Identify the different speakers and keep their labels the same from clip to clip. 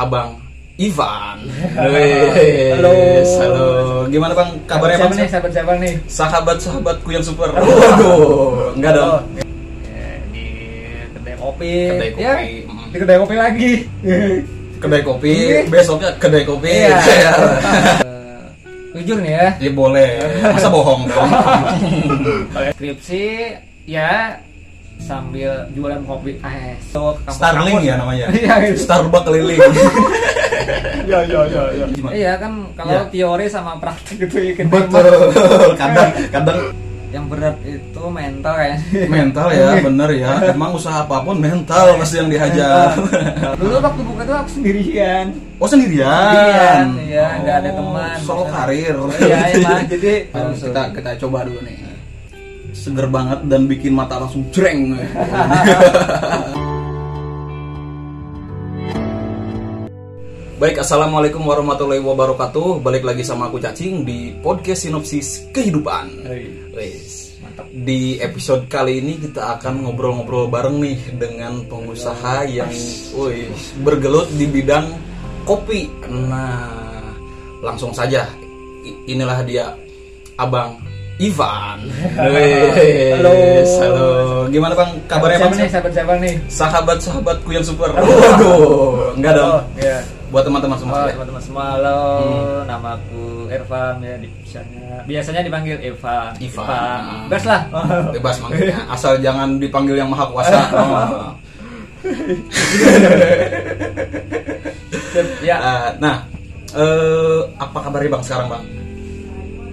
Speaker 1: Abang Ivan. Wes.
Speaker 2: Halo.
Speaker 1: Halo. Gimana Bang? Kabarnya Bang?
Speaker 2: siapa nih? Sahabat siapa nih?
Speaker 1: Sahabat-sahabatku yang super. Waduh, enggak Iya dong.
Speaker 2: Ya, di kedai kopi.
Speaker 1: Kedai kopi.
Speaker 2: Ya,
Speaker 1: Mm.
Speaker 2: di kedai kopi lagi.
Speaker 1: Kedai kopi,
Speaker 2: Iya.
Speaker 1: besoknya kedai kopi.
Speaker 2: Iya. Eh, Jujur nih ya,
Speaker 1: Ya boleh. Masa bohong dong?
Speaker 2: skripsi ya sambil jualan kopi eh so ke kampus-
Speaker 1: Starling
Speaker 2: kampus.
Speaker 1: ya namanya.
Speaker 2: Iya, gitu.
Speaker 1: Starbuck keliling.
Speaker 3: Ya ya ya ya.
Speaker 1: Gimana?
Speaker 2: Iya kan kalau
Speaker 1: Iya.
Speaker 2: teori sama praktik itu ya ketimpa.
Speaker 1: Betul. Kadang kadang
Speaker 2: Yang berat itu mental kan. kayaknya.
Speaker 1: mental ya,
Speaker 2: Iya.
Speaker 1: bener ya. Emang usaha apapun mental pasti yang dihajar.
Speaker 2: Dulu waktu buka tuh aku sendirian.
Speaker 1: Oh sendirian?
Speaker 2: Sendirian, iya, nggak ada
Speaker 1: Oh,
Speaker 2: teman.
Speaker 1: Solo
Speaker 2: Maksudnya-
Speaker 1: karir.
Speaker 2: Iya, emang jadi eh,
Speaker 1: Harus kita kita coba dulu nih. Seger banget dan bikin mata langsung jreng. Baik, assalamualaikum warahmatullahi wabarakatuh. Balik lagi sama aku Cacing di podcast sinopsis kehidupan. Wes.
Speaker 2: Mantap.
Speaker 1: Di episode kali ini kita akan ngobrol-ngobrol bareng nih dengan pengusaha yang woi, bergelut di bidang kopi. Nah, langsung saja I- inilah dia Abang Ivan. Wes.
Speaker 2: Halo.
Speaker 1: Halo. Gimana Bang? Kabarnya
Speaker 2: siapa
Speaker 1: Bang?
Speaker 2: nih? Sahabat siapa nih?
Speaker 1: Sahabat-sahabatku yang super. Waduh, enggak dong.
Speaker 2: Iya.
Speaker 1: Buat teman-teman semua.
Speaker 2: Halo
Speaker 1: ya.
Speaker 2: teman-teman semua, halo.
Speaker 1: Hmm.
Speaker 2: Nama aku Irfan ya di- biasanya biasanya dipanggil Irfan.
Speaker 1: Irfan. Hmm.
Speaker 2: Bebas lah.
Speaker 1: bebas manggilnya asal jangan dipanggil yang maha kuasa Oh.
Speaker 2: Sip, ya.
Speaker 1: Eh, nah eh, apa kabarnya bang sekarang bang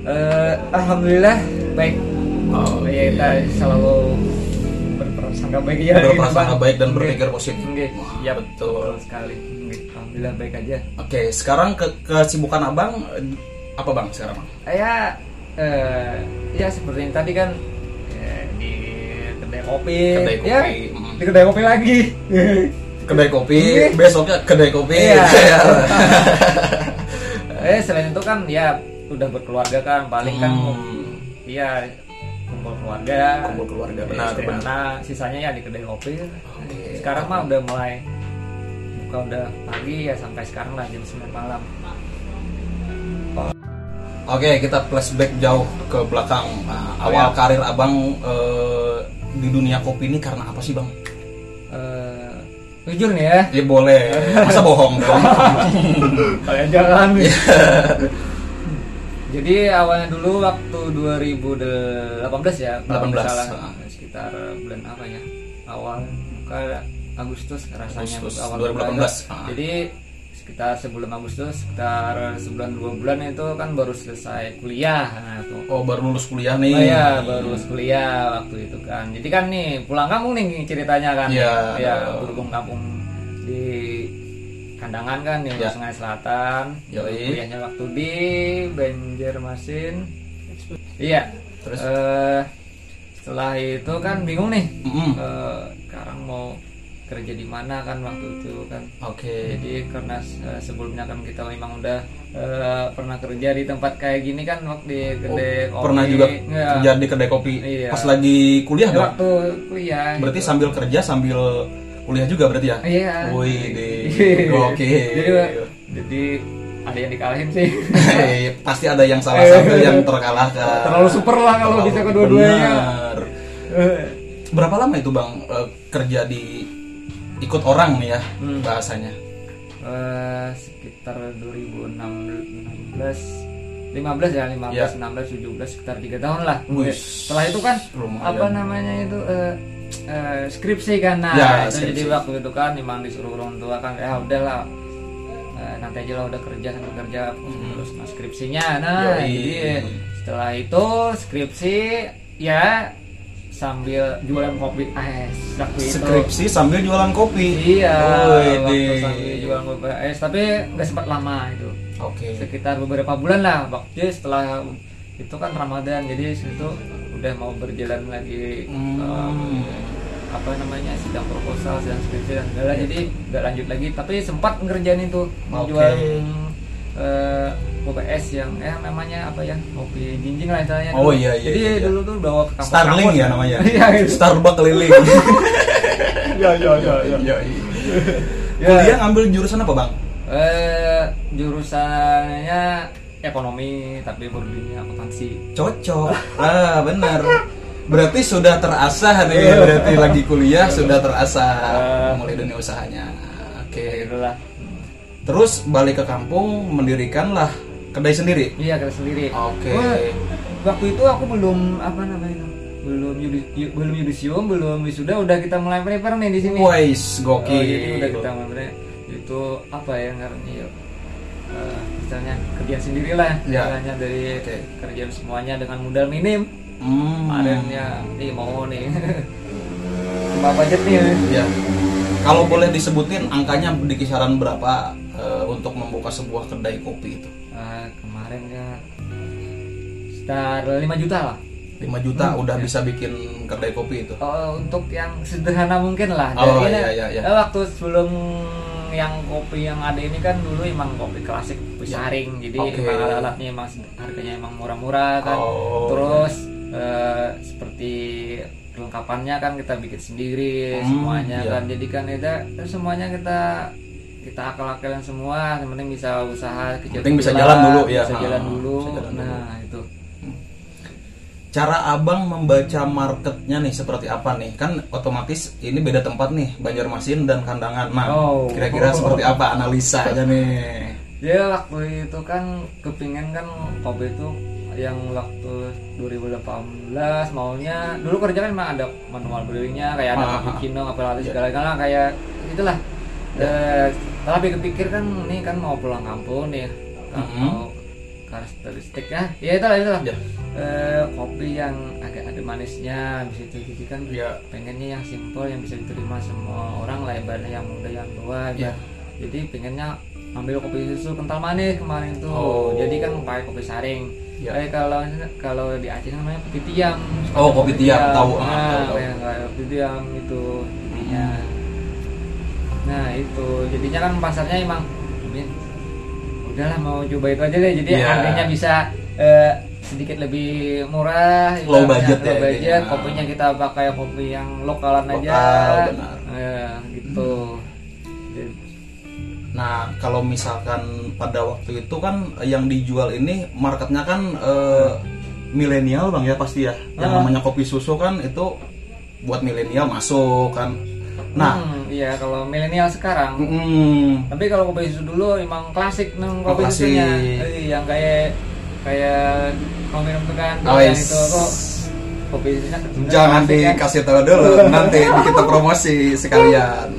Speaker 2: Eh, alhamdulillah baik.
Speaker 1: Oh,
Speaker 2: ya kita selalu berprasangka baik ya.
Speaker 1: Berprasangka
Speaker 2: Bang.
Speaker 1: baik dan
Speaker 2: Oke.
Speaker 1: berpikir positif.
Speaker 2: Oke.
Speaker 1: Wah,
Speaker 2: Ya
Speaker 1: betul.
Speaker 2: betul sekali. Oke, Alhamdulillah baik aja.
Speaker 1: oke sekarang ke kesibukan abang eh, apa bang sekarang bang
Speaker 2: Eh, Ya eh, ya seperti yang tadi kan eh, di kedai kopi.
Speaker 1: Kedai kopi,
Speaker 2: Ya,
Speaker 1: mm.
Speaker 2: di kedai kopi lagi.
Speaker 1: kedai kopi
Speaker 2: Iya.
Speaker 1: besoknya kedai kopi
Speaker 2: Iya. eh selain itu kan ya udah berkeluarga kan paling kan
Speaker 1: Hmm.
Speaker 2: iya kumpul keluarga
Speaker 1: Kumpul keluarga,
Speaker 2: ya,
Speaker 1: benar,
Speaker 2: istri
Speaker 1: benar.
Speaker 2: anak, sisanya ya di kedai kopi
Speaker 1: Oke.
Speaker 2: sekarang mah udah mulai buka udah pagi ya sampai sekarang lah jam 9 malam
Speaker 1: Oke, kita flashback jauh ke belakang. Nah,
Speaker 2: Oh,
Speaker 1: awal
Speaker 2: ya.
Speaker 1: karir abang eh, di dunia kopi ini karena apa sih bang?
Speaker 2: Eh, jujur nih ya
Speaker 1: Ya boleh, masa bohong dong?
Speaker 2: kalian jangan
Speaker 1: Iya.
Speaker 2: jadi awalnya dulu waktu 2018 ya kalau nggak
Speaker 1: 18,
Speaker 2: salah.
Speaker 1: ah.
Speaker 2: sekitar bulan apa ya awal buka Agustus rasanya
Speaker 1: Agustus 2018,
Speaker 2: awal bulan.
Speaker 1: ah.
Speaker 2: jadi sekitar sebelum Agustus sekitar sebulan dua bulan itu kan baru selesai kuliah nah itu
Speaker 1: Oh baru lulus kuliah nih.
Speaker 2: Oh iya, baru lulus kuliah waktu itu kan. Jadi kan nih pulang kampung nih ceritanya kan.
Speaker 1: Iya.
Speaker 2: berhubung kampung di Kandangan kan di
Speaker 1: Iya.
Speaker 2: Sungai Selatan.
Speaker 1: Yoi.
Speaker 2: Kuliahnya waktu di Banjarmasin. Iya.
Speaker 1: Terus?
Speaker 2: Eh, setelah itu kan bingung nih.
Speaker 1: Mm-mm.
Speaker 2: Eh, sekarang mau kerja di mana kan waktu itu kan.
Speaker 1: Oke.
Speaker 2: Jadi karena eh, sebelumnya kan kita memang udah eh, pernah kerja di tempat kayak gini kan waktu di kedai
Speaker 1: Oh,
Speaker 2: kopi.
Speaker 1: pernah juga
Speaker 2: Iya.
Speaker 1: kerja di kedai kopi
Speaker 2: Iya.
Speaker 1: pas lagi kuliah
Speaker 2: Ya,
Speaker 1: dong.
Speaker 2: waktu kuliah.
Speaker 1: Berarti
Speaker 2: gitu.
Speaker 1: sambil kerja sambil kuliah juga berarti ya?
Speaker 2: Iya.
Speaker 1: Wih, deh. oke.
Speaker 2: jadi, jadi ada yang dikalahin sih.
Speaker 1: Eh, Pasti ada yang salah satu yang terkalahkan.
Speaker 2: Iya. Terlalu super lah kalau
Speaker 1: Terlalu
Speaker 2: bisa kedua-duanya. Eh.
Speaker 1: benar. Berapa lama itu bang eh, kerja di ikut orang nih ya
Speaker 2: Hmm.
Speaker 1: bahasanya?
Speaker 2: Eh, sekitar 2016 15 ya 15
Speaker 1: Ya.
Speaker 2: 16 17 sekitar 3 tahun lah.
Speaker 1: Wih,
Speaker 2: Setelah itu kan
Speaker 1: lumayan.
Speaker 2: apa namanya itu eh, eh, skripsi kan nah
Speaker 1: Ya,
Speaker 2: itu
Speaker 1: skripsi.
Speaker 2: jadi waktu itu kan memang disuruh orang tua kan ya udahlah eh, nanti aja lah udah kerja sambil kerja terus nah, skripsinya nah
Speaker 1: Hmm. Yoi.
Speaker 2: jadi eh, setelah itu skripsi ya sambil jualan kopi eh waktu itu
Speaker 1: Skripsi sambil jualan kopi.
Speaker 2: Iya,
Speaker 1: Wih,
Speaker 2: waktu
Speaker 1: deh.
Speaker 2: sambil jualan BPS, Eh, tapi nggak sempat lama itu.
Speaker 1: Oke.
Speaker 2: Sekitar beberapa bulan lah, waktu setelah itu kan Ramadan, jadi itu udah mau berjalan lagi
Speaker 1: Hmm.
Speaker 2: eh, apa namanya sidang proposal, sidang skripsi dan segala, jadi nggak lanjut lagi. Tapi sempat ngerjain itu
Speaker 1: Iya. Oke.
Speaker 2: jual eh BPS yang eh namanya apa ya kopi jinjing lah istilahnya.
Speaker 1: Oh,
Speaker 2: dulu.
Speaker 1: iya, iya,
Speaker 2: Jadi
Speaker 1: iya, iya.
Speaker 2: dulu tuh bawa ke kampus.
Speaker 1: Starling ya namanya. iya,
Speaker 2: Iya. gitu.
Speaker 1: Starbuck keliling.
Speaker 3: Ya ya ya ya.
Speaker 2: Iya,
Speaker 1: Ya. Kuliah ngambil jurusan apa bang?
Speaker 2: eh jurusannya ekonomi tapi berdunia akuntansi
Speaker 1: cocok ah benar berarti sudah terasah
Speaker 2: Iya.
Speaker 1: nih berarti lagi kuliah sudah terasah
Speaker 2: Ah.
Speaker 1: mulai dunia usahanya oke
Speaker 2: kayak gitulah
Speaker 1: terus balik ke kampung mendirikanlah kedai sendiri
Speaker 2: iya kita sendiri
Speaker 1: Oke.
Speaker 2: Gua- waktu itu aku belum apa namanya belum yudis- yu- belum yudisium belum wisuda udah kita mulai prepare nih di sini
Speaker 1: Wais,
Speaker 2: Oh,
Speaker 1: gokil.
Speaker 2: jadi udah kita mulai itu apa ya karena ya eh, misalnya kerjaan sendirilah
Speaker 1: Ya.
Speaker 2: caranya dari
Speaker 1: Oke.
Speaker 2: kerjaan semuanya dengan modal minim
Speaker 1: Hmm.
Speaker 2: kemarin ya nih mau nih cuma budget nih
Speaker 1: Ya. Kalau boleh disebutin angkanya di kisaran berapa eh, untuk membuka sebuah kedai kopi itu?
Speaker 2: Eh, kemarin ya sekitar 5 juta lah
Speaker 1: 5 juta
Speaker 2: Hmm.
Speaker 1: udah bisa bikin kedai kopi itu.
Speaker 2: Oh, untuk yang sederhana mungkin lah.
Speaker 1: Oh,
Speaker 2: Jadi,
Speaker 1: iya,
Speaker 2: eh,
Speaker 1: iya, iya.
Speaker 2: eh, waktu sebelum yang kopi yang ada ini kan dulu emang kopi klasik, kopi saring. Jadi
Speaker 1: Iya. Oke.
Speaker 2: emang alat-alatnya emang sed- harganya emang murah-murah kan.
Speaker 1: Oh.
Speaker 2: Terus eh, seperti kelengkapannya kan kita bikin sendiri
Speaker 1: Hmm,
Speaker 2: semuanya
Speaker 1: iya.
Speaker 2: kan. Jadi kan kita terus semuanya kita kita akal-akalan semua, yang penting bisa usaha kecil
Speaker 1: Penting bisa jalan dulu, ya.
Speaker 2: Bisa
Speaker 1: Ah,
Speaker 2: jalan dulu.
Speaker 1: bisa jalan dulu.
Speaker 2: nah, itu.
Speaker 1: Cara abang membaca marketnya nih seperti apa nih? Kan otomatis ini beda tempat nih, Banjarmasin dan Kandangan. Nah,
Speaker 2: Oh.
Speaker 1: kira-kira seperti apa analisa aja nih?
Speaker 2: Dia Ya, waktu itu kan kepingin kan kopi itu yang waktu 2018 maunya dulu kerja kan memang ada manual brewingnya kayak ada
Speaker 1: Ah,
Speaker 2: kopi
Speaker 1: ah, ah.
Speaker 2: kino apa
Speaker 1: Iya.
Speaker 2: segala galanya kayak itulah Eh, tapi kepikir kan nih kan mau pulang kampung nih kan
Speaker 1: Mhm.
Speaker 2: mau karakteristiknya ya itulah itulah
Speaker 1: Iya.
Speaker 2: Eh, kopi yang agak ada manisnya habis itu jadi kan
Speaker 1: Iya.
Speaker 2: pengennya yang simple yang bisa diterima semua orang lah ibaratnya yang muda yang tua
Speaker 1: Iya.
Speaker 2: jadi pengennya ambil kopi susu kental manis kemarin tuh
Speaker 1: Oh.
Speaker 2: jadi kan pakai kopi saring
Speaker 1: Iya.
Speaker 2: Tapi kalau kalau di Aceh namanya kopi tiam
Speaker 1: Oh, kopi tiam, tahu, ah, tahu,
Speaker 2: nah
Speaker 1: Hmm. tahu.
Speaker 2: kayak kayak kopi tiam itu intinya nah itu jadinya kan pasarnya emang "Min, udahlah mau coba itu aja deh jadi
Speaker 1: Iya.
Speaker 2: harganya bisa eh, sedikit lebih murah
Speaker 1: Low
Speaker 2: ibaratnya
Speaker 1: budget
Speaker 2: low
Speaker 1: ya,
Speaker 2: budget
Speaker 1: intinya.
Speaker 2: kopinya kita pakai kopi yang lokalan aja
Speaker 1: Lokal, benar.
Speaker 2: Eh, gitu Jadi-
Speaker 1: Nah, kalau misalkan pada waktu itu kan yang dijual ini marketnya kan eh, milenial bang ya pasti ya. Yang
Speaker 2: Ah.
Speaker 1: namanya kopi susu kan itu buat milenial masuk kan. Nah,
Speaker 2: Hmm, iya kalau milenial sekarang.
Speaker 1: mm,
Speaker 2: Tapi kalau kopi susu dulu emang klasik neng kopi
Speaker 1: Oh, Klasik.
Speaker 2: susunya. Eh, yang kayak kayak kau minum tuh kan
Speaker 1: Oh,
Speaker 2: yang
Speaker 1: is.
Speaker 2: itu kok kopi susunya
Speaker 1: jangan
Speaker 2: klasik, kan?
Speaker 1: dikasih tahu dulu, nanti kita promosi sekalian.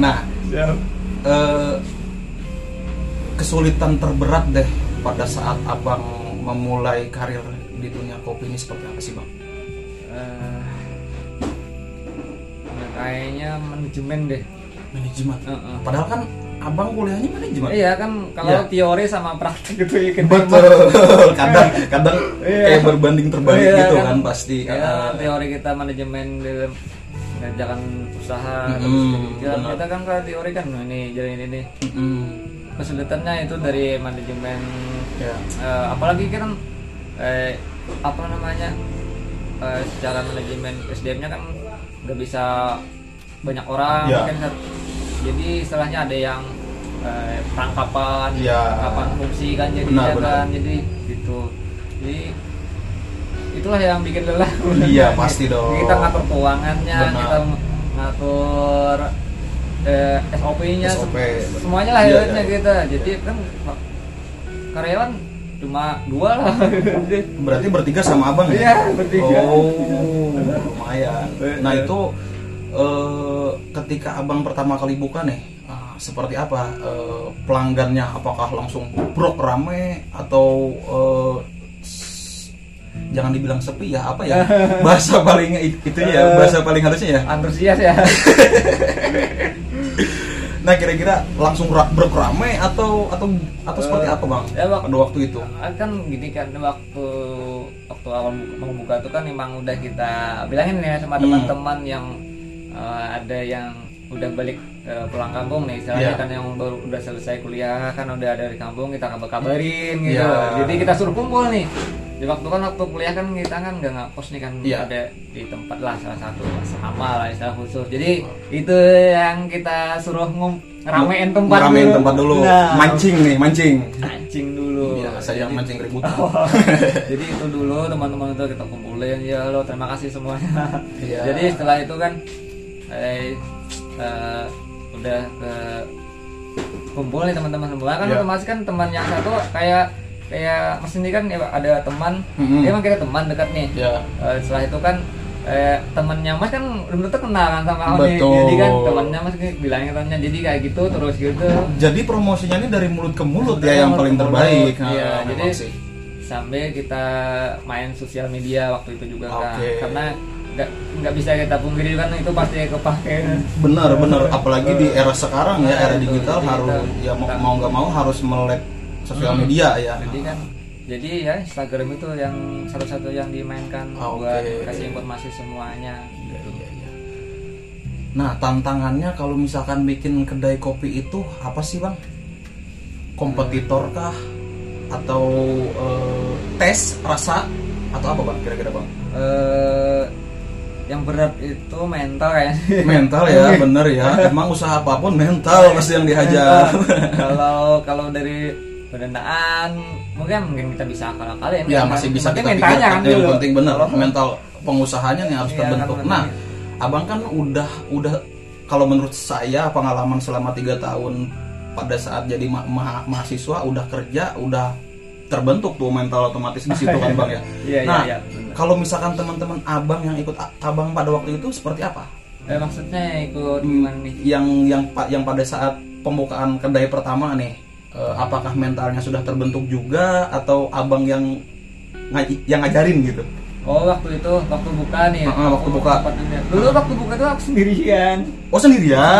Speaker 1: Nah,
Speaker 3: Siap.
Speaker 1: eh, kesulitan terberat deh pada saat abang memulai karir di dunia kopi ini seperti apa sih bang?
Speaker 2: Eh, ya, kayaknya manajemen deh.
Speaker 1: Manajemen.
Speaker 2: Heeh.
Speaker 1: Padahal kan abang kuliahnya manajemen.
Speaker 2: Iya kan kalau
Speaker 1: Iya.
Speaker 2: teori sama gitu ya, praktik itu ikut
Speaker 1: Betul. Kadang kadang
Speaker 2: Iya.
Speaker 1: kayak berbanding terbalik
Speaker 2: Iya,
Speaker 1: gitu kan, pasti.
Speaker 2: Iya,
Speaker 1: Ah.
Speaker 2: teori kita manajemen dalam mengerjakan usaha
Speaker 1: Mm-mm,
Speaker 2: terus jadi jalan.
Speaker 1: benar.
Speaker 2: kita kan kalau teori kan ini jalan ini nih
Speaker 1: Mm-mm.
Speaker 2: kesulitannya itu dari manajemen
Speaker 1: Ya.
Speaker 2: eh, apalagi kan eh, apa namanya eh, secara manajemen SDM-nya kan nggak bisa banyak orang
Speaker 1: Ya.
Speaker 2: mungkin sat- jadi istilahnya ada yang eh, tangkapan
Speaker 1: Ya.
Speaker 2: tangkapan fungsi kan jadi
Speaker 1: Benar,
Speaker 2: ya
Speaker 1: benar.
Speaker 2: kan jadi gitu jadi itulah yang bikin lelah
Speaker 1: Iya, pasti dong.
Speaker 2: kita ngatur keuangannya
Speaker 1: Benar.
Speaker 2: kita ngatur eh, SOP-nya
Speaker 1: SOP, benar.
Speaker 2: semuanya lah
Speaker 1: Iya,
Speaker 2: akhirnya
Speaker 1: iya.
Speaker 2: kita jadi kan karyawan cuma dua lah
Speaker 1: Berarti bertiga sama abang ya?
Speaker 2: Iya, bertiga.
Speaker 1: Oh, lumayan. Nah
Speaker 3: Iya.
Speaker 1: itu eh, ketika abang pertama kali buka nih, ah, seperti apa eh, pelanggannya? Apakah langsung brok rame atau eh, s- jangan dibilang sepi ya apa ya bahasa paling it- itu ya
Speaker 2: Eh.
Speaker 1: bahasa paling halusnya ya
Speaker 2: antusias ya
Speaker 1: Nah kira-kira langsung ra- brek rame atau atau atau seperti apa bang?
Speaker 2: ya, Bang.
Speaker 1: Pada waktu itu.
Speaker 2: Ah, kan gini kan waktu waktu awal bu- mau buka tuh kan memang udah kita bilangin ya sama
Speaker 1: Hmm.
Speaker 2: teman-teman yang eh, ada yang udah balik eh, pulang kampung nih istilahnya
Speaker 1: Iya.
Speaker 2: kan yang baru udah selesai kuliah kan udah dari kampung kita kabar kabarin gitu
Speaker 1: Iya.
Speaker 2: jadi kita suruh kumpul nih di waktu kan waktu kuliah kan kita kan nggak ngapus nih kan
Speaker 1: Iya.
Speaker 2: ada di tempat lah salah satu sama lah istilah khusus jadi
Speaker 1: Oh.
Speaker 2: itu yang kita suruh ngum ramein tempat
Speaker 1: Ramein
Speaker 2: dulu.
Speaker 1: tempat dulu. Iya,
Speaker 2: Nah,
Speaker 1: Mancing nih, mancing.
Speaker 2: mancing dulu
Speaker 1: Biasa yang
Speaker 2: Jadi-
Speaker 1: mancing keributan.
Speaker 2: Oh. jadi itu dulu teman-teman itu kita kumpulin ya lo terima kasih semuanya
Speaker 1: Iya.
Speaker 2: jadi setelah itu kan eh, eh, udah ke kumpul nih teman-teman semua kan
Speaker 1: Iya.
Speaker 2: otomatis kan teman yang satu kayak kayak maksudnya kan ya, ada teman
Speaker 1: Mm-mm.
Speaker 2: dia emang kita teman dekat nih
Speaker 1: Iya.
Speaker 2: Eh, setelah itu kan eh, temennya mas kan udah bener kenal kan sama aku nih.
Speaker 1: Betul.
Speaker 2: jadi kan temennya mas bilangnya temennya jadi kayak gitu terus gitu
Speaker 1: Jadi promosinya ini dari mulut ke mulut ya yang
Speaker 2: Mulut ke
Speaker 1: paling
Speaker 2: mulut.
Speaker 1: terbaik. Nah,
Speaker 2: Iya,
Speaker 1: memang
Speaker 2: jadi-
Speaker 1: sih.
Speaker 2: sambil kita main sosial media waktu itu juga kan
Speaker 1: Oke.
Speaker 2: karena nggak nggak bisa kita pungkiri kan itu pasti kepake
Speaker 1: Hmm. benar Iya, benar apalagi di era sekarang ya era
Speaker 2: Betul,
Speaker 1: digital
Speaker 2: digital.
Speaker 1: harus ya mau mau nggak mau harus melek sosial media ya
Speaker 2: jadi kan jadi ya Instagram itu yang satu-satu yang dimainkan
Speaker 1: Ah, Oke.
Speaker 2: buat kasih informasi semuanya
Speaker 1: Iya, iya, iya. nah tantangannya kalau misalkan bikin kedai kopi itu apa sih bang kompetitor kah atau eh, tes rasa atau apa bang kira-kira bang
Speaker 2: eh yang berat itu mental kayaknya
Speaker 1: mental
Speaker 2: Iya.
Speaker 1: ya bener ya emang usaha apapun mental pasti yang dihajar
Speaker 2: kalau kalau dari pendanaan mungkin mungkin kita bisa kan. akal akalin
Speaker 1: ya masih bisa kita
Speaker 2: mentalnya
Speaker 1: pikirkan
Speaker 2: kan
Speaker 1: yang
Speaker 2: dulu
Speaker 1: penting bener mental pengusahanya yang harus
Speaker 2: Iya,
Speaker 1: terbentuk
Speaker 2: kan,
Speaker 1: nah
Speaker 2: bener.
Speaker 1: abang kan udah udah kalau menurut saya pengalaman selama tiga tahun pada saat jadi ma- ma- mahasiswa udah kerja udah terbentuk tuh mental otomatis di situ kan bang ya
Speaker 2: Iya, iya,
Speaker 1: nah
Speaker 2: iya, bener.
Speaker 1: kalau misalkan teman-teman abang yang ikut a- abang pada waktu itu seperti apa
Speaker 2: eh, maksudnya ikut gimana nih
Speaker 1: yang yang pa- yang pada saat pembukaan kedai pertama nih eh, apakah mentalnya sudah terbentuk juga atau abang yang ngaji- yang ngajarin gitu
Speaker 2: oh waktu itu waktu buka nih
Speaker 1: Heeh, Ah, waktu buka.
Speaker 2: tempatnya. dulu waktu buka tuh aku sendirian
Speaker 1: oh sendirian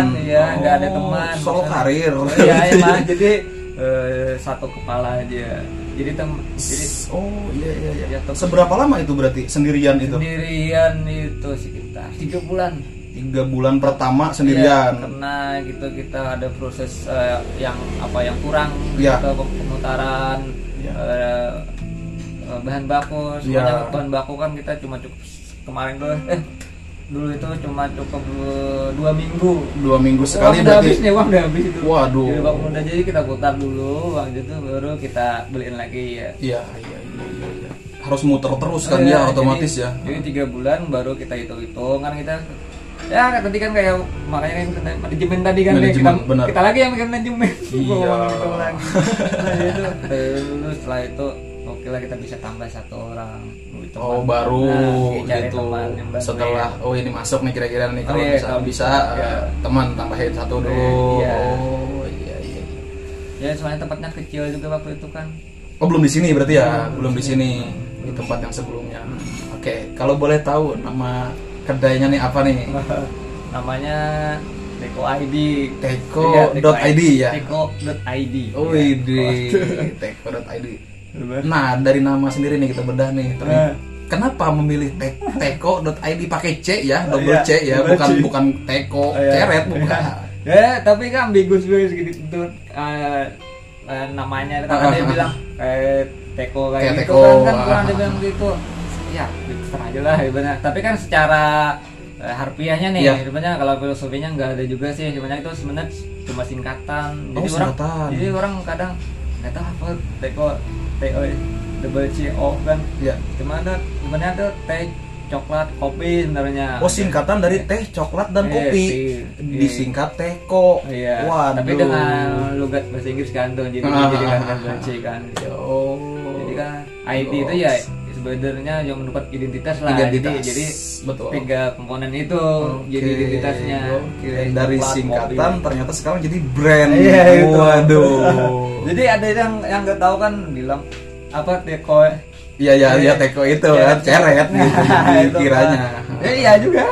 Speaker 2: Sendirian, iya
Speaker 1: Oh,
Speaker 2: nggak ada teman
Speaker 1: solo
Speaker 2: Maksudnya-
Speaker 1: karir
Speaker 2: Oh, iya emang jadi eh, satu kepala aja jadi tem jadi
Speaker 1: oh iya iya iya
Speaker 2: Ya, tem-
Speaker 1: seberapa lama itu berarti sendirian itu
Speaker 2: sendirian itu sekitar tiga bulan
Speaker 1: tiga bulan pertama
Speaker 2: Iya,
Speaker 1: sendirian
Speaker 2: karena gitu kita ada proses eh, yang apa yang kurang
Speaker 1: Iya.
Speaker 2: gitu, pem- pemutaran
Speaker 1: Iya.
Speaker 2: eh, eh, bahan baku semuanya
Speaker 1: Iya.
Speaker 2: bahan baku kan kita cuma cukup kemarin dulu eh dulu itu cuma cukup eh, dua minggu
Speaker 1: dua minggu sekali
Speaker 2: uang udah
Speaker 1: berarti
Speaker 2: habis nih uang udah habis itu
Speaker 1: Waduh.
Speaker 2: jadi, baku udah jadi kita putar dulu uang itu baru kita beliin lagi ya
Speaker 1: iya iya iya iya, iya. harus muter terus kan
Speaker 2: Oh,
Speaker 1: ya
Speaker 2: iya,
Speaker 1: otomatis
Speaker 2: jadi-
Speaker 1: ya
Speaker 2: Jadi tiga bulan baru kita hitung hitung kan kita ya kayak tadi kan kayak makanya kan kita- manajemen tadi kan nih,
Speaker 1: Manajemen,
Speaker 2: kita,
Speaker 1: benar.
Speaker 2: kita lagi yang bikin manajemen
Speaker 1: Iya.
Speaker 2: Gua gitu lagi nah, itu kita dulu setelah itu oke lah kita bisa tambah satu orang Gitu,
Speaker 1: Oh
Speaker 2: teman.
Speaker 1: baru
Speaker 2: Nah, cari
Speaker 1: gitu
Speaker 2: teman yang bantuin.
Speaker 1: setelah oh ini masuk nih kira-kira nih
Speaker 2: Oh,
Speaker 1: kalau
Speaker 2: iya,
Speaker 1: bisa
Speaker 2: kalau
Speaker 1: bisa
Speaker 2: bisa,
Speaker 1: eh,
Speaker 2: iya.
Speaker 1: teman tambahin satu
Speaker 2: Iya,
Speaker 1: dulu
Speaker 2: iya.
Speaker 1: oh iya iya iya.
Speaker 2: ya soalnya tempatnya kecil juga waktu itu kan
Speaker 1: oh belum di sini berarti ya belum di sini di tempat yang sebelumnya oke kalau boleh tahu nama kedainya nih apa nih
Speaker 2: namanya Teko ID
Speaker 1: Teko
Speaker 2: Iya,
Speaker 1: dot ID ya?
Speaker 2: Teko.id
Speaker 1: oh
Speaker 2: Iya.
Speaker 1: ini teko.id nah dari nama sendiri nih kita bedah nih Tapi
Speaker 2: Nah.
Speaker 1: Kenapa memilih te- teko.id pakai C ya, double
Speaker 2: iya,
Speaker 1: C ya,
Speaker 2: double
Speaker 1: bukan
Speaker 2: C.
Speaker 1: bukan teko,
Speaker 2: Oh, iya.
Speaker 1: ceret bukan.
Speaker 2: ya tapi kan ambigus juga segitu tuh eh, eh, namanya kan ada yang bilang kayak teko
Speaker 1: Kayak
Speaker 2: kayak gitu
Speaker 1: teko,
Speaker 2: kan kan
Speaker 1: ah.
Speaker 2: kurang ada bilang gitu ya terserah aja lah sebenarnya tapi kan secara eh, harfiahnya nih
Speaker 1: Iya.
Speaker 2: sebenarnya kalau filosofinya nggak ada juga sih sebenarnya itu sebenarnya cuma singkatan
Speaker 1: Oh,
Speaker 2: jadi orang
Speaker 1: singkatan.
Speaker 2: jadi orang kadang nggak tahu apa teko teko double c o kan
Speaker 1: Ya.
Speaker 2: cuma ada sebenarnya ada teh coklat kopi sebenarnya
Speaker 1: Oh singkatan dari teh, coklat dan
Speaker 2: Iya,
Speaker 1: kopi.
Speaker 2: sih. Iya.
Speaker 1: Disingkat teko.
Speaker 2: Iya.
Speaker 1: Waduh.
Speaker 2: Tapi dengan logat bahasa Inggris kan tuh jadi
Speaker 1: Ah.
Speaker 2: jadi kan double C kan.
Speaker 1: Oh.
Speaker 2: Jadi kan ID itu ya sebenarnya yang mendapat identitas lah.
Speaker 1: Identitas.
Speaker 2: Jadi jadi
Speaker 1: Betul.
Speaker 2: tiga komponen itu
Speaker 1: Oke.
Speaker 2: jadi identitasnya.
Speaker 1: Oke.
Speaker 2: Jadi
Speaker 1: Dari
Speaker 2: coklat,
Speaker 1: singkatan
Speaker 2: kopi.
Speaker 1: ternyata sekarang jadi brand.
Speaker 2: Iya, itu.
Speaker 1: Waduh.
Speaker 2: Jadi ada yang yang nggak tahu kan bilang apa teko
Speaker 1: Iya
Speaker 2: Iya.
Speaker 1: ya ya teko itu kan ceret gitu
Speaker 2: Itu kan.
Speaker 1: kiranya.
Speaker 2: Eh, Iya juga.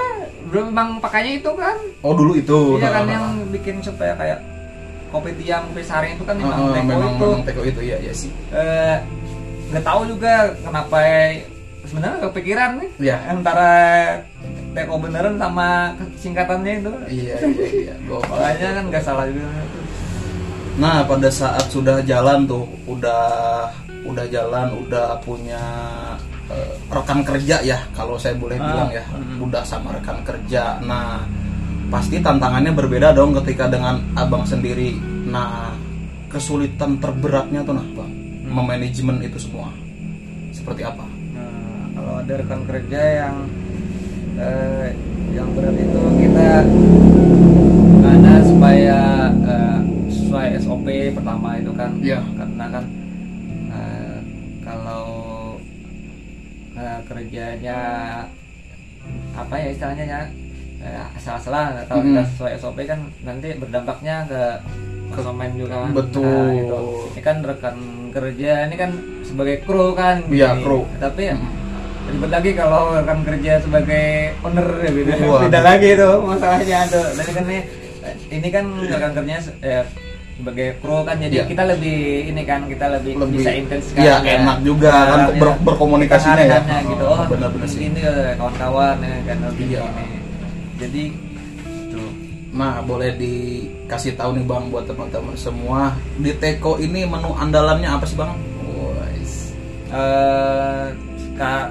Speaker 2: Belum memang pakainya itu kan.
Speaker 1: Oh dulu itu.
Speaker 2: Iya kan
Speaker 1: Nah,
Speaker 2: yang bikin supaya kayak kopi tiam, kopi saring itu kan
Speaker 1: nah,
Speaker 2: memang
Speaker 1: nah,
Speaker 2: teko
Speaker 1: memang
Speaker 2: itu.
Speaker 1: memang teko itu ya ya sih.
Speaker 2: Eh, nggak tahu juga kenapa eh, sebenarnya nggak kepikiran nih
Speaker 1: Iya.
Speaker 2: antara teko beneran sama singkatannya itu
Speaker 1: Iya iya iya. Gokil.
Speaker 2: makanya kan nggak salah juga
Speaker 1: Nah, pada saat sudah jalan tuh, udah udah jalan, udah punya eh, rekan kerja ya kalau saya boleh
Speaker 3: Ah,
Speaker 1: bilang ya,
Speaker 2: hmm.
Speaker 3: mm.
Speaker 1: udah sama rekan kerja. Nah, pasti tantangannya berbeda dong ketika dengan abang sendiri. Nah, kesulitan terberatnya tuh nah, Bang,
Speaker 2: Hmm.
Speaker 1: memanajemen itu semua. Seperti apa?
Speaker 2: Nah, kalau ada rekan kerja yang eh, yang berat itu kita karena supaya eh, sesuai SOP pertama itu kan
Speaker 1: Iya.
Speaker 2: karena kan eh, kalau eh, kerjanya apa ya istilahnya ya eh, asal-asalan kalau
Speaker 1: Mm-mm.
Speaker 2: kita sesuai SOP kan nanti berdampaknya ke konsumen juga kan
Speaker 1: Betul.
Speaker 2: Nah, itu. ini kan rekan kerja ini kan sebagai kru kan
Speaker 1: Iya,
Speaker 2: Ini.
Speaker 1: kru.
Speaker 2: tapi ya,
Speaker 1: Mm.
Speaker 2: ribet lagi kalau rekan kerja sebagai owner ya gitu
Speaker 1: Waduh.
Speaker 2: tidak lagi itu masalahnya tuh dan kan ini ini kan rekan kerjanya se- eh, sebagai kru kan jadi
Speaker 1: Iya.
Speaker 2: kita lebih ini kan kita lebih,
Speaker 1: Lebih-
Speaker 2: bisa intens ya.
Speaker 1: iya, enak juga kan
Speaker 2: Nah,
Speaker 1: ber- berkomunikasinya ya.
Speaker 2: tangannya gitu
Speaker 1: Oh,
Speaker 2: oh,
Speaker 1: benar-benar sih.
Speaker 2: ini eh, kawan-kawan ya, kan lebih
Speaker 1: Iya.
Speaker 2: ini jadi gitu. tuh
Speaker 1: Nah, boleh dikasih tahu nih Bang buat teman-teman semua, di Teko ini menu andalannya apa sih Bang? Wais.
Speaker 2: eh ka-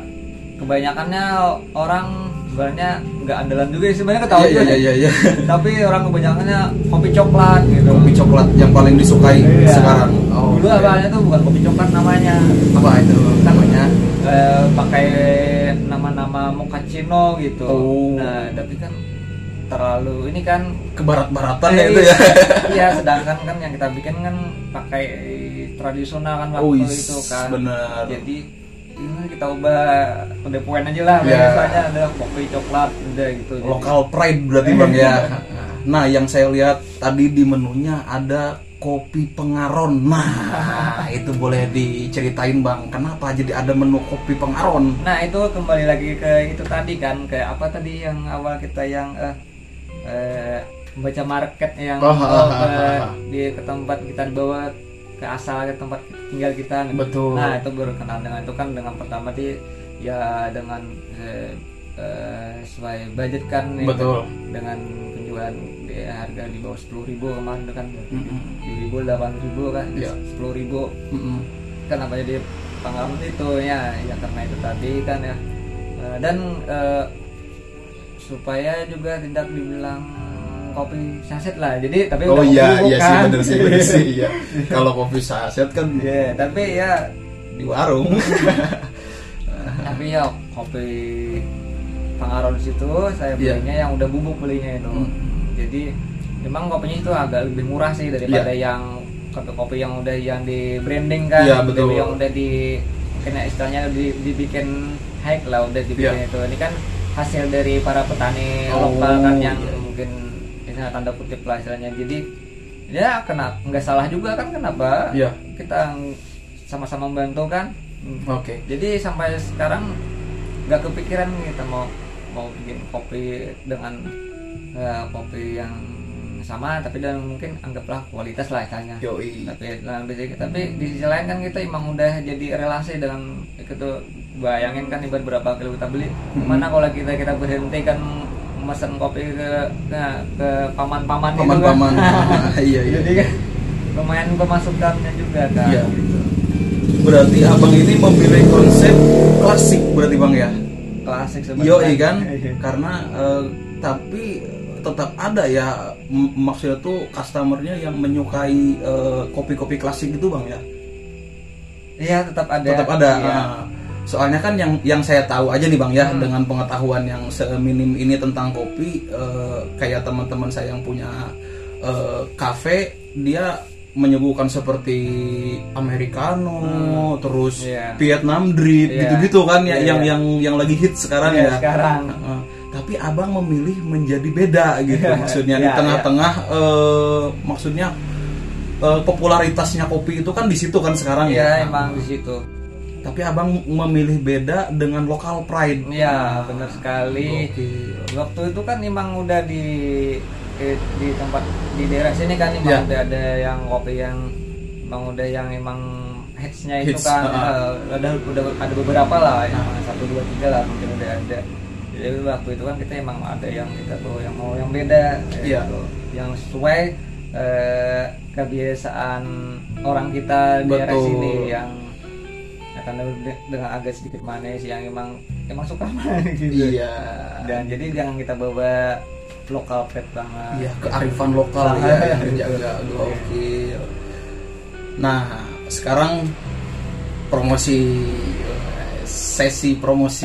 Speaker 2: kebanyakannya orang sebenarnya nggak andalan juga sih banyak ketahuan
Speaker 1: Iya,
Speaker 2: juga.
Speaker 1: iya, iya, iya.
Speaker 2: tapi orang kebanyakannya kopi coklat gitu
Speaker 1: Kopi coklat yang paling disukai
Speaker 2: Iya.
Speaker 1: sekarang. Oh,
Speaker 2: dulu
Speaker 1: oke.
Speaker 2: awalnya tuh bukan kopi coklat namanya
Speaker 1: apa itu?
Speaker 2: namanya eh, pakai nama-nama mochaccino gitu
Speaker 1: Oh.
Speaker 2: nah tapi kan terlalu ini kan
Speaker 1: Kebarat-baratan ya
Speaker 2: eh,
Speaker 1: itu ya.
Speaker 2: iya sedangkan kan yang kita bikin kan pakai tradisional kan waktu
Speaker 1: Oh, is,
Speaker 2: itu kan
Speaker 1: bener.
Speaker 2: jadi ya, kita ubah kedepoan aja lah
Speaker 1: Ya.
Speaker 2: biasanya ada kopi coklat udah gitu Jadi-
Speaker 1: Lokal pride berarti Bang ya. Nah, yang saya lihat tadi di menunya ada kopi pengaron. Nah, itu boleh diceritain Bang, kenapa jadi ada menu kopi pengaron?
Speaker 2: Nah itu kembali lagi ke itu tadi kan ke apa tadi yang awal kita yang eh, eh, baca market yang
Speaker 1: Oh,
Speaker 2: oh,
Speaker 1: ah,
Speaker 2: ke,
Speaker 1: ah, ah.
Speaker 2: di ke tempat kita dibawa ke asal ke tempat tinggal kita.
Speaker 1: Betul.
Speaker 2: Nah itu berkenal dengan itu kan dengan pertama di ya dengan eh, eh, sesuai budget kan ya,
Speaker 1: Betul.
Speaker 2: dengan penjualan di harga di bawah sepuluh ribu kemarin itu kan
Speaker 1: Mm-mm.
Speaker 2: ribu delapan ribu kan
Speaker 1: Iya.
Speaker 2: sepuluh ribu
Speaker 1: Mm-mm.
Speaker 2: kenapa Kan jadi pengalaman itu ya ya karena itu tadi kan ya Eh, dan eh, supaya juga tidak dibilang eh, kopi saset lah jadi tapi
Speaker 1: Oh
Speaker 2: udah kan?
Speaker 1: iya,
Speaker 2: kopi
Speaker 1: iya sih
Speaker 2: bukan.
Speaker 1: bener sih, bener sih iya. Kalau kopi saset kan
Speaker 2: Iya, tapi ya
Speaker 1: di warung.
Speaker 2: tapi ya kopi pengaruh di situ saya
Speaker 1: Iya.
Speaker 2: belinya yang udah bubuk belinya itu
Speaker 1: Hmm.
Speaker 2: jadi memang kopinya itu agak lebih murah sih daripada yang kopi-kopi yang udah yang di branding kan
Speaker 1: Iya,
Speaker 2: Lebih
Speaker 1: betul.
Speaker 2: yang udah di kena istilahnya di- dibikin high lah udah dibikin
Speaker 1: Iya.
Speaker 2: itu ini kan hasil dari para petani
Speaker 1: Oh,
Speaker 2: lokal kan yang
Speaker 1: iya.
Speaker 2: mungkin misalnya tanda kutip lah istilahnya jadi ya kena nggak salah juga kan kenapa
Speaker 1: Iya.
Speaker 2: kita sama-sama membantu kan
Speaker 1: Oke.
Speaker 2: jadi sampai sekarang nggak kepikiran kita mau mau bikin kopi dengan eh, kopi yang sama tapi dan mungkin anggaplah kualitas lah istilahnya
Speaker 1: Yoi.
Speaker 2: tapi nah, basic- tapi di sisi lain kan kita emang udah jadi relasi dengan itu bayangin kan ibarat berapa kilo kita beli
Speaker 1: Hmm.
Speaker 2: mana kalau kita kita berhenti kan mesen kopi ke ke, ke paman-paman itu kan.
Speaker 1: Paman-paman. Iya, iya.
Speaker 2: jadi kan lumayan pemasukannya juga kan
Speaker 1: Iya.
Speaker 2: gitu.
Speaker 1: Berarti abang ini memilih konsep klasik berarti bang ya.
Speaker 2: klasik sebenarnya
Speaker 1: Yoi kan,
Speaker 2: Iya.
Speaker 1: karena eh, tapi tetap ada ya m- maksudnya tuh customernya yang menyukai eh, kopi-kopi klasik gitu bang ya.
Speaker 2: Iya tetap ada.
Speaker 1: tetap ada.
Speaker 2: Iya.
Speaker 1: ah. soalnya kan yang yang saya tahu aja nih bang ya
Speaker 2: Hmm.
Speaker 1: dengan pengetahuan yang seminim ini tentang kopi, eh, kayak teman-teman saya yang punya eh, kafe, dia menyuguhkan seperti americano, terus
Speaker 2: Iya.
Speaker 1: Vietnam drip,
Speaker 2: Iya.
Speaker 1: gitu-gitu kan ya
Speaker 2: Iya,
Speaker 1: yang
Speaker 2: iya.
Speaker 1: yang yang lagi hit sekarang
Speaker 2: Iya,
Speaker 1: ya.
Speaker 2: sekarang.
Speaker 1: Heeh. tapi abang memilih menjadi beda gitu maksudnya di
Speaker 2: Iya,
Speaker 1: tengah-tengah eh, maksudnya eh, popularitasnya kopi itu kan di situ kan sekarang ya.
Speaker 2: Iya emang di situ.
Speaker 1: Tapi abang memilih beda dengan lokal pride.
Speaker 2: Iya benar sekali.
Speaker 1: Gokil.
Speaker 2: Waktu itu kan emang udah di eh, di tempat di daerah sini kan
Speaker 1: Iya.
Speaker 2: emang udah ada yang kopi yang emang udah yang emang hitsnya itu
Speaker 1: Hits, ah.
Speaker 2: kan
Speaker 1: ha-ha.
Speaker 2: eh, ada udah ada beberapa lah yang satu dua tiga lah mungkin udah ada. Jadi waktu itu kan kita emang ada yang kita tuh yang mau yang beda.
Speaker 1: Iya.
Speaker 2: gitu. Yang sesuai eh, kebiasaan orang kita di daerah
Speaker 1: Betul.
Speaker 2: sini yang ya karena de- dengan agak sedikit manis yang emang emang suka manis gitu
Speaker 1: Iya.
Speaker 2: dan jadi jangan kita bawa lokal pet
Speaker 1: Iya,
Speaker 2: banget
Speaker 1: kearifan lokal ya
Speaker 2: Iya.
Speaker 1: yang dijaga. Gokil. Nah, sekarang promosi eh, sesi promosi.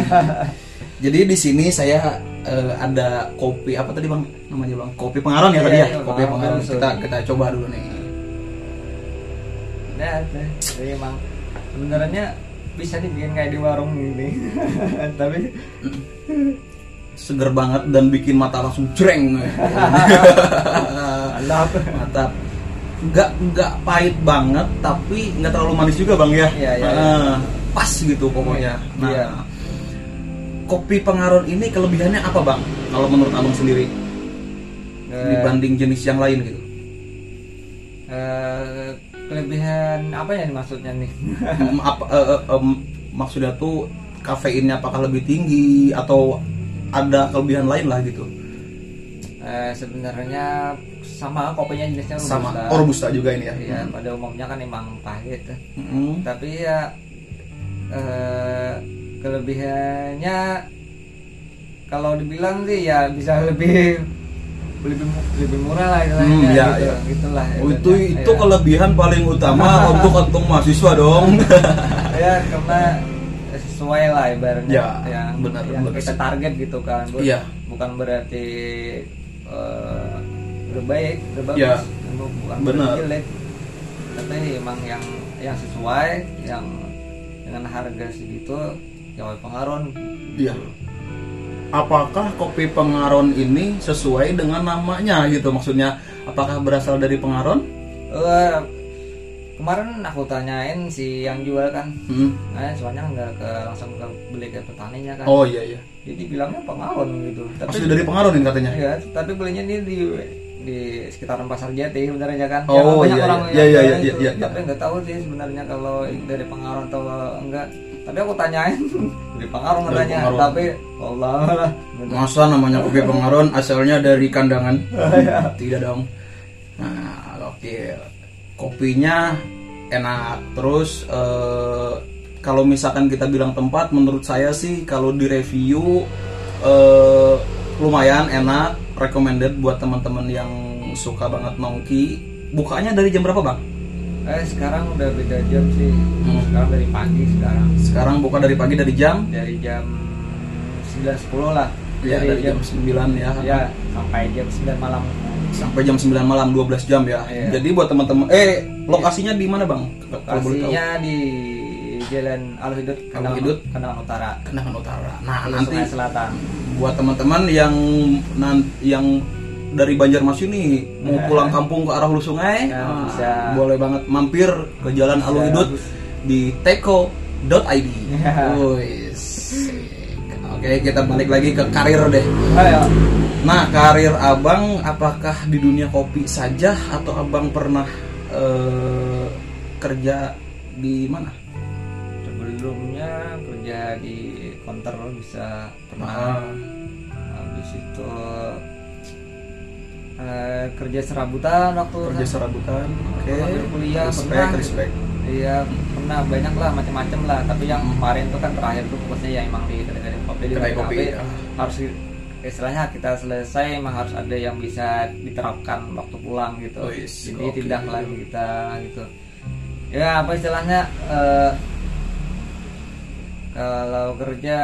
Speaker 1: Jadi di sini saya eh, ada kopi apa tadi Bang? Namanya Bang, kopi pengarang ya
Speaker 2: Iya,
Speaker 1: tadi ya?
Speaker 2: iya,
Speaker 1: kopi
Speaker 2: pengarang
Speaker 1: pengarang.
Speaker 2: langsung.
Speaker 1: Kita kita coba dulu nih.
Speaker 2: Nah, nah, jadi emang sebenarnya bisa dibikin kayak di warung ini tapi
Speaker 1: Seger banget dan bikin mata langsung jreng.
Speaker 2: mantap
Speaker 1: Mantap. Nggak nggak pahit banget tapi nggak terlalu manis juga Bang ya.
Speaker 2: Iya, iya,
Speaker 1: Eh,
Speaker 2: iya.
Speaker 1: Pas gitu pokoknya. Nah,
Speaker 2: Iya.
Speaker 1: kopi pengaron ini kelebihannya apa Bang? Kalau menurut Abang sendiri
Speaker 2: Eh,
Speaker 1: dibanding jenis yang lain gitu.
Speaker 2: eh, kelebihan apa ya maksudnya nih
Speaker 1: Em, apa eh, eh, em, maksudnya tuh kafeinnya apakah lebih tinggi atau ada kelebihan lain lah gitu.
Speaker 2: Eh, sebenarnya sama kopinya jenisnya robusta.
Speaker 1: Sama oh, robusta juga ini ya.
Speaker 2: Iya, pada umumnya kan emang pahit
Speaker 1: Mm.
Speaker 2: tapi ya eh, kelebihannya kalau dibilang sih ya bisa lebih lebih mu- lebih murah lah istilahnya
Speaker 1: Hmm, iya,
Speaker 2: gitu,
Speaker 1: iya.
Speaker 2: gitulah
Speaker 1: Oh, itu
Speaker 2: istilahnya.
Speaker 1: itu
Speaker 2: Iya.
Speaker 1: kelebihan paling utama untuk kantong mahasiswa dong.
Speaker 2: ya karena sesuai lah ibaratnya
Speaker 1: Ya,
Speaker 2: yang-
Speaker 1: benar,
Speaker 2: yang
Speaker 1: benar.
Speaker 2: kita target gitu kan Bu-
Speaker 1: Iya.
Speaker 2: bukan berarti eh udah baik udah bagus
Speaker 1: Ya,
Speaker 2: bu- bukan
Speaker 1: benar.
Speaker 2: berarti jelek tapi emang yang yang sesuai yang dengan harga segitu ya pengaruh
Speaker 1: Iya. Apakah kopi pengaron ini sesuai dengan namanya gitu maksudnya? Apakah berasal dari pengaron?
Speaker 2: Eh, kemarin aku tanyain si yang jual kan
Speaker 1: Hmm.
Speaker 2: nah soalnya nggak ke langsung ke beli ke petaninya kan
Speaker 1: Oh iya iya.
Speaker 2: jadi bilangnya pengaruh gitu tapi
Speaker 1: Maksudnya dari pengaron ini katanya.
Speaker 2: Iya, tapi belinya ini di di sekitaran pasar Jati sebenarnya kan.
Speaker 1: Oh,
Speaker 2: Yang banyak
Speaker 1: iya,
Speaker 2: orang
Speaker 1: iya.
Speaker 2: yang
Speaker 1: Iya, iya,
Speaker 2: jualan
Speaker 1: iya,
Speaker 2: itu.
Speaker 1: iya, iya.
Speaker 2: Tapi nggak tahu sih sebenarnya kalau dari pengaruh atau enggak. Tapi aku tanyain dari pengaruh
Speaker 1: Dari
Speaker 2: nanya,
Speaker 1: pengaruh.
Speaker 2: tapi Allah lah.
Speaker 1: Masa namanya kopi pengaron asalnya dari kandangan? Tidak dong. Nah, oke. Kopinya enak. Terus eh, kalau misalkan kita bilang tempat, menurut saya sih kalau di review eh, lumayan enak, recommended buat teman-teman yang suka banget nongki. Bukanya dari jam berapa, Bang?
Speaker 2: Eh sekarang udah beda jam sih.
Speaker 1: Hmm.
Speaker 2: Sekarang dari pagi sekarang
Speaker 1: Sekarang buka dari pagi dari jam
Speaker 2: dari jam 9.10 lah.
Speaker 1: ya dari jam 9 ya.
Speaker 2: ya sampai jam 9 malam.
Speaker 1: sampai jam 9 malam 12 jam ya.
Speaker 2: Iya.
Speaker 1: Jadi buat teman-teman eh lokasinya di mana Bang? Kalau boleh tahu.
Speaker 2: Lokasinya di Jalan Alhidut, Kendal
Speaker 1: Alhidut.
Speaker 2: Kendal Utara.
Speaker 1: Kenangan Utara. Nah, nanti
Speaker 2: Sungai Selatan.
Speaker 1: buat teman-teman yang nan- yang dari Banjarmasin nih mau pulang kampung ke arah Hulu Sungai,
Speaker 2: Iya. Ya,
Speaker 1: nah,
Speaker 2: bisa.
Speaker 1: boleh banget mampir ke Jalan
Speaker 2: Bisa.
Speaker 1: Alwi Dut di teko.id.
Speaker 2: Ya.
Speaker 1: Wih, sik. Oke, kita balik lagi ke karir deh.
Speaker 2: Ayo.
Speaker 1: Nah, karir abang apakah di dunia kopi saja atau abang pernah eh, kerja di mana?
Speaker 2: Sebelumnya kerja di counter bisa
Speaker 1: Ah.
Speaker 2: pernah. Habis itu eh, kerja serabutan waktu
Speaker 1: Kerja serabutan, oke.
Speaker 2: Sambil kuliah,
Speaker 1: respect,
Speaker 2: pernah.
Speaker 1: respect.
Speaker 2: Iya pernah banyak lah macam-macam lah. Tapi yang kemarin tuh kan terakhir tuh fokusnya ya emang di kedai kopi di
Speaker 1: Kedai
Speaker 2: kedai
Speaker 1: kopi,
Speaker 2: kopi
Speaker 1: ya.
Speaker 2: harus istilahnya kita selesai emang harus ada yang bisa diterapkan waktu pulang gitu.
Speaker 1: Oh, yes.
Speaker 2: Jadi
Speaker 1: Oke.
Speaker 2: tidak lagi kita gitu. Ya apa istilahnya eh, kalau kerja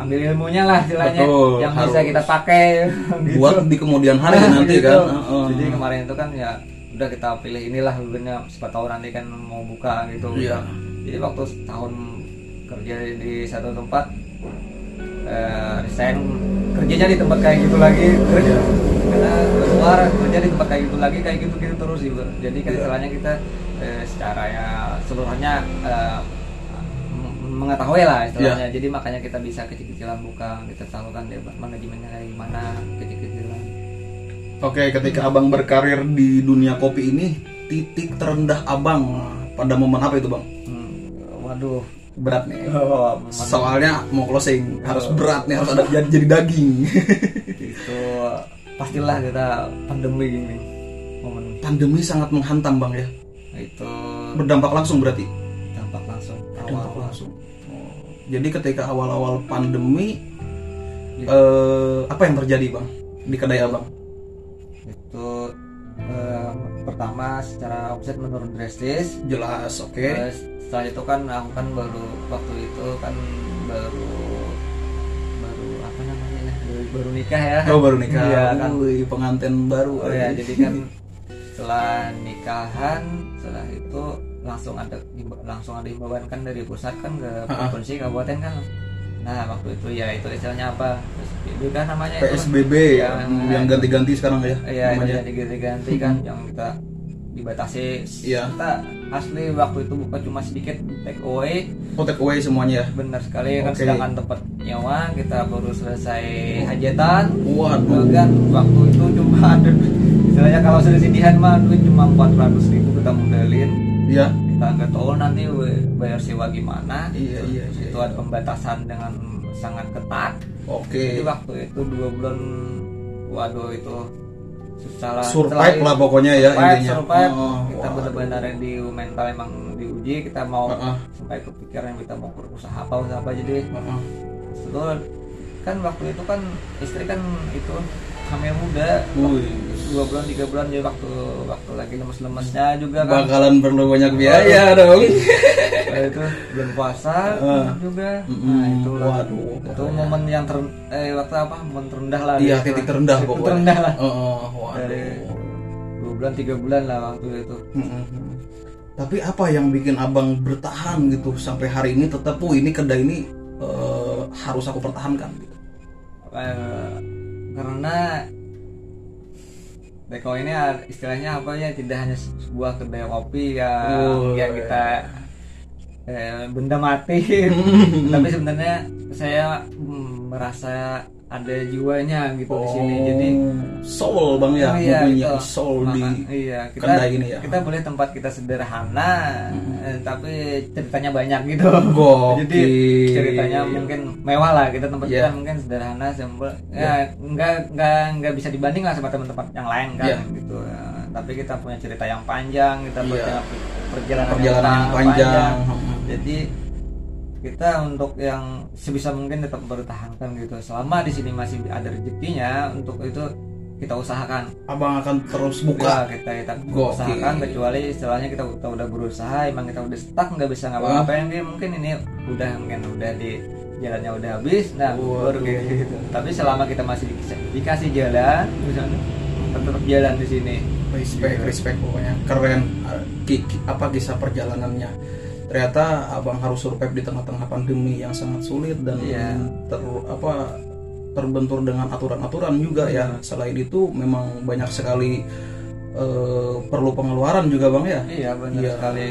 Speaker 2: ambil ilmunya lah istilahnya
Speaker 1: Betul,
Speaker 2: yang bisa
Speaker 1: harus.
Speaker 2: kita pakai gitu.
Speaker 1: Buat di kemudian hari
Speaker 2: Nah,
Speaker 1: nanti
Speaker 2: gitu.
Speaker 1: kan. Heeh.
Speaker 2: Jadi kemarin itu kan ya udah kita pilih inilah benernya siapa tahu nanti kan mau buka gitu.
Speaker 1: Iya.
Speaker 2: Jadi waktu tahun kerja di satu tempat eh, resign kerjanya di tempat kayak gitu lagi
Speaker 1: Iya.
Speaker 2: kerja karena keluar kerja di tempat kayak gitu lagi kayak gitu gitu terus sih Bu. jadi kan
Speaker 1: Iya.
Speaker 2: istilahnya kita eh, secara ya seluruhnya eh, m- mengetahui lah istilahnya
Speaker 1: Iya.
Speaker 2: jadi makanya kita bisa kecil-kecilan buka kita tahu kan dia manajemennya kayak gimana kecil-kecilan
Speaker 1: Oke, ketika abang berkarir di dunia kopi ini, titik terendah abang pada momen apa itu bang?
Speaker 2: Hmm, waduh.
Speaker 1: Berat nih.
Speaker 2: Oh,
Speaker 1: Soalnya mau closing harus berat nih harus ada jadi, jadi daging.
Speaker 2: itu pastilah kita pandemi ini momen
Speaker 1: Pandemi sangat menghantam bang ya.
Speaker 2: itu
Speaker 1: Berdampak langsung berarti.
Speaker 2: dampak langsung
Speaker 1: warung langsung. Jadi ketika awal-awal pandemi
Speaker 2: Iya.
Speaker 1: eh, apa yang terjadi bang di kedai abang?
Speaker 2: itu eh, pertama secara omset menurun drastis
Speaker 1: Jelas, oke.
Speaker 2: Terus setelah itu kan aku kan baru waktu itu kan baru baru apa namanya ya, baru, baru nikah ya.
Speaker 1: Kau baru nikah,
Speaker 2: Iya, kan.
Speaker 1: Wih, pengantin baru.
Speaker 2: Oh ya,
Speaker 1: aduh.
Speaker 2: jadi kan setelah nikahan setelah itu langsung ada himba- langsung ada himbauan kan dari pusat kan ke
Speaker 1: Ha-ha.
Speaker 2: provinsi kabupaten kan. Nah waktu itu ya itu istilahnya apa? Itu kan namanya itu.
Speaker 1: PSBB
Speaker 2: Iya,
Speaker 1: yang, ya, yang ganti-ganti sekarang ya
Speaker 2: Iya, itu
Speaker 1: namanya. Hmm.
Speaker 2: yang diganti-ganti kan yang kita dibatasi.
Speaker 1: Iya.
Speaker 2: Kita asli waktu itu buka cuma sedikit take away
Speaker 1: Oh, take away semuanya ya.
Speaker 2: benar sekali kan
Speaker 1: Oke.
Speaker 2: sedangkan tempat nyawa kita baru selesai hajatan
Speaker 1: Waduh.
Speaker 2: kan waktu itu cuma ada istilahnya kalau sedihan mah duit cuma 400 ribu kita modalin
Speaker 1: Iya.
Speaker 2: kita nggak tahu nanti we- bayar sewa gimana
Speaker 1: Iya, iya, iya,
Speaker 2: itu
Speaker 1: iya.
Speaker 2: ada pembatasan dengan sangat ketat jadi
Speaker 1: Oke.
Speaker 2: waktu itu dua bulan waduh itu susah lah
Speaker 1: Survive
Speaker 2: Setelah-
Speaker 1: lah pokoknya ya
Speaker 2: survive,
Speaker 1: intinya.
Speaker 2: survive.
Speaker 1: Oh, waduh.
Speaker 2: kita
Speaker 1: Uh-uh.
Speaker 2: benar-benar di mental emang diuji kita mau
Speaker 1: Heeh.
Speaker 2: sampai kepikiran kita mau berusaha apa usaha apa jadi
Speaker 1: Heeh.
Speaker 2: betul kan waktu itu kan istri kan itu hamil muda
Speaker 1: Wih,
Speaker 2: dua bulan tiga bulan jadi waktu waktu lagi lemes-lemesnya juga kan Nah,
Speaker 1: bakalan perlu banyak biaya dong.
Speaker 2: Waktu itu bulan puasa
Speaker 1: Heeh.
Speaker 2: juga
Speaker 1: Mm-mm.
Speaker 2: nah itu
Speaker 1: Waduh,
Speaker 2: itu
Speaker 1: pokoknya.
Speaker 2: momen yang ter eh waktu apa momen terendah lah
Speaker 1: Iya,
Speaker 2: gitu
Speaker 1: titik
Speaker 2: lah.
Speaker 1: terendah
Speaker 2: Titik
Speaker 1: pokoknya.
Speaker 2: terendah lah
Speaker 1: Oh, waduh.
Speaker 2: Dari- dua bulan tiga bulan lah waktu itu
Speaker 1: Mm-mm. Tapi apa yang bikin abang bertahan gitu sampai hari ini tetap, oh ini kedai ini eh, harus aku pertahankan. Gitu.
Speaker 2: Eh, karena Deko ini a- istilahnya apa ya tidak hanya se- sebuah kedai kopi ya
Speaker 1: Oh,
Speaker 2: yang kita eh, benda mati tapi sebenarnya saya mm, merasa ada jiwanya gitu di sini
Speaker 1: Oh,
Speaker 2: jadi
Speaker 1: soul bang ya,
Speaker 2: Oh, iya,
Speaker 1: mempunyai
Speaker 2: gitu.
Speaker 1: soul di
Speaker 2: Maka- iya, kita,
Speaker 1: kedai ini ya. Hmm.
Speaker 2: kita boleh tempat kita sederhana eh, tapi ceritanya banyak gitu
Speaker 1: Gokil.
Speaker 2: jadi ceritanya mungkin mewah lah kita tempat
Speaker 1: Iya.
Speaker 2: kita mungkin sederhana simple ya nggak nggak nggak bisa dibanding lah sama teman-teman yang lain kan
Speaker 1: Iya.
Speaker 2: gitu Ya, tapi kita punya cerita yang panjang kita
Speaker 1: Iya.
Speaker 2: punya perjalanan,
Speaker 1: Perjalanan yang panjang.
Speaker 2: jadi kita untuk yang sebisa mungkin tetap bertahankan gitu selama di sini masih ada rezekinya untuk itu kita usahakan
Speaker 1: abang akan terus buka.
Speaker 2: Ya, kita kita
Speaker 1: Gokil.
Speaker 2: usahakan kecuali istilahnya kita, kita udah berusaha emang kita udah stuck nggak bisa ngapa-ngapain dia mungkin ini udah mungkin udah di jalannya udah habis nah baru
Speaker 1: Waduh.
Speaker 2: kayak gitu tapi selama kita masih di- dikasih jalan misalnya tetap jalan di sini
Speaker 1: Respect,
Speaker 2: Iya.
Speaker 1: respect pokoknya keren. Eh, ki- ki- apa kisah perjalanannya? Ternyata abang harus survive di tengah-tengah pandemi yang sangat sulit dan
Speaker 2: Iya.
Speaker 1: ter apa terbentur dengan aturan-aturan juga ya.
Speaker 2: Iya.
Speaker 1: Selain itu memang banyak sekali eh, perlu pengeluaran juga bang ya.
Speaker 2: iya benar
Speaker 1: Iya.
Speaker 2: sekali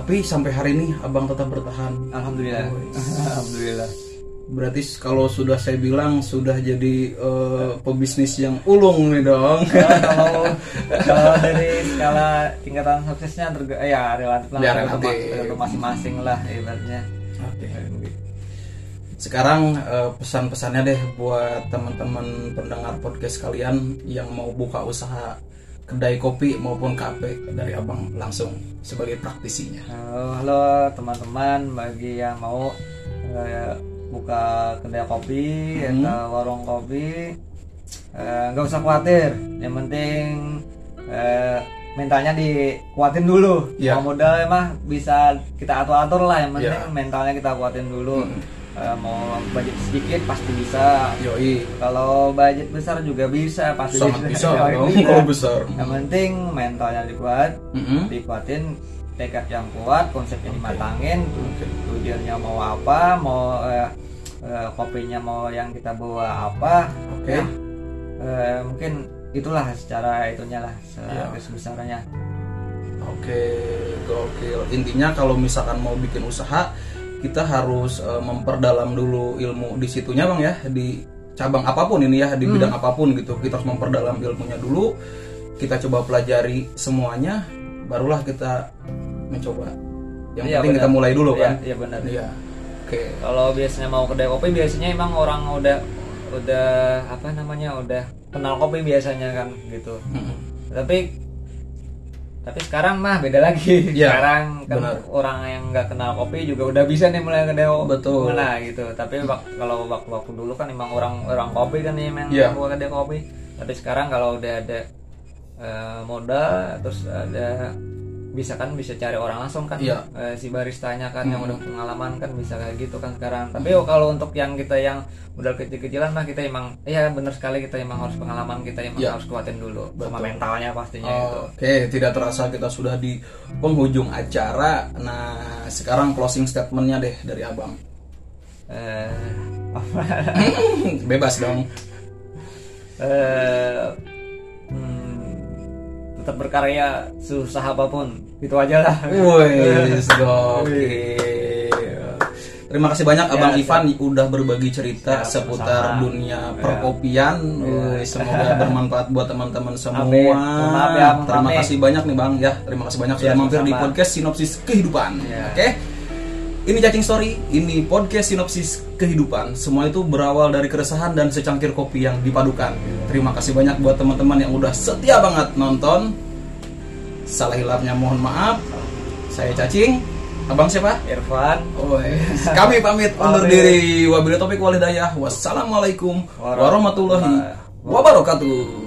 Speaker 1: Tapi sampai hari ini abang tetap bertahan.
Speaker 2: alhamdulillah alhamdulillah
Speaker 1: Berarti kalau sudah saya bilang sudah jadi eh, pebisnis yang ulung nih dong.
Speaker 2: Kalau- kalau kalau dari skala tingkatan suksesnya terga- eh, ya relatif lah
Speaker 1: Ya,
Speaker 2: tergantung-
Speaker 1: relatif.
Speaker 2: tergantung masing-masing lah ibaratnya
Speaker 1: Sekarang eh, pesan-pesannya deh buat teman-teman pendengar podcast kalian yang mau buka usaha kedai kopi maupun kafe dari abang langsung sebagai praktisinya.
Speaker 2: Halo, halo teman-teman bagi yang mau eh, buka kedai kopi
Speaker 1: Mhm.
Speaker 2: atau warung kopi eh, nggak usah khawatir yang penting eh, mentalnya dikuatin dulu
Speaker 1: Iya.
Speaker 2: mau modal mah bisa kita atur atur lah yang penting
Speaker 1: Iya.
Speaker 2: mentalnya kita kuatin dulu
Speaker 1: Mhm.
Speaker 2: Eh, mau budget sedikit pasti bisa
Speaker 1: Yoi,
Speaker 2: kalau budget besar juga bisa pasti
Speaker 1: sangat bisa dong
Speaker 2: Bisa.
Speaker 1: kalau besar.
Speaker 2: yang penting mentalnya dikuat
Speaker 1: Mm-mm.
Speaker 2: dikuatin tekad yang kuat konsepnya dimatangin
Speaker 1: Oke.
Speaker 2: tujuannya mau apa mau eh, eh, kopinya mau yang kita bawa apa
Speaker 1: Oke.
Speaker 2: Ya, eh, mungkin itulah secara itunya lah
Speaker 1: Iya.
Speaker 2: secara garis besarnya
Speaker 1: Oke, gokil. Intinya kalau misalkan mau bikin usaha, kita harus eh, memperdalam dulu ilmu di situnya bang ya, di cabang apapun ini ya, di
Speaker 2: Hmm.
Speaker 1: bidang apapun gitu. Kita harus memperdalam ilmunya dulu. Kita coba pelajari semuanya, barulah kita mencoba. Yang
Speaker 2: Iya,
Speaker 1: penting
Speaker 2: benar.
Speaker 1: kita mulai dulu
Speaker 2: Iya,
Speaker 1: kan.
Speaker 2: iya, benar.
Speaker 1: Iya. Oke.
Speaker 2: kalau biasanya mau kedai kopi biasanya emang orang udah udah apa namanya udah kenal kopi biasanya kan gitu
Speaker 1: Mm-mm.
Speaker 2: tapi tapi sekarang mah beda lagi
Speaker 1: Iya,
Speaker 2: sekarang kan
Speaker 1: benar.
Speaker 2: orang yang nggak kenal kopi juga udah bisa nih mulai ke deo
Speaker 1: Betul.
Speaker 2: mana gitu tapi wak- kalau waktu waktu dulu kan emang orang orang kopi kan ya emang
Speaker 1: Iya.
Speaker 2: buat kedai kopi tapi sekarang kalau udah ada eh, modal terus ada bisa kan bisa cari orang langsung kan
Speaker 1: Iya.
Speaker 2: Eh, si baristanya kan yang
Speaker 1: Hmm.
Speaker 2: udah pengalaman kan bisa kayak gitu kan sekarang tapi kalau untuk yang kita yang modal kecil-kecilan mah kita emang ya bener sekali kita emang harus pengalaman kita emang
Speaker 1: Iya.
Speaker 2: harus kuatin dulu sama
Speaker 1: Betul. Oh.
Speaker 2: mentalnya pastinya gitu
Speaker 1: Oke, tidak terasa kita sudah di penghujung acara. Nah, sekarang closing statementnya deh dari abang.
Speaker 2: eh apa
Speaker 1: Bebas dong.
Speaker 2: eh hmm, tetap berkarya susah apapun itu aja lah
Speaker 1: Woi, gokil. Terima kasih banyak Abang
Speaker 2: Ya,
Speaker 1: Ivan udah berbagi cerita
Speaker 2: Ya,
Speaker 1: seputar
Speaker 2: sama-sama. Ya.
Speaker 1: dunia perkopian. Woi, semoga bermanfaat buat teman-teman semua.
Speaker 2: Amin. Mohon maaf ya, mohon
Speaker 1: terima
Speaker 2: maaf ya.
Speaker 1: kasih banyak nih Bang ya. Terima kasih banyak
Speaker 2: Ya,
Speaker 1: sudah mampir di
Speaker 2: sama-sama.
Speaker 1: podcast Sinopsis Kehidupan.
Speaker 2: Ya.
Speaker 1: Oke. Eh, Ini cacing story, ini podcast sinopsis kehidupan. Semua itu berawal dari keresahan dan secangkir kopi yang dipadukan. Terima kasih banyak buat teman-teman yang udah setia banget nonton. Salah hilangnya mohon maaf. Saya cacing. Abang siapa?
Speaker 2: Irfan
Speaker 1: Oi. Kami pamit undur
Speaker 2: Pamit.
Speaker 1: diri. Wabillahi taufiq walhidayah. Wassalamualaikum warahmatullahi
Speaker 2: Warahmatullahi
Speaker 1: wabarakatuh.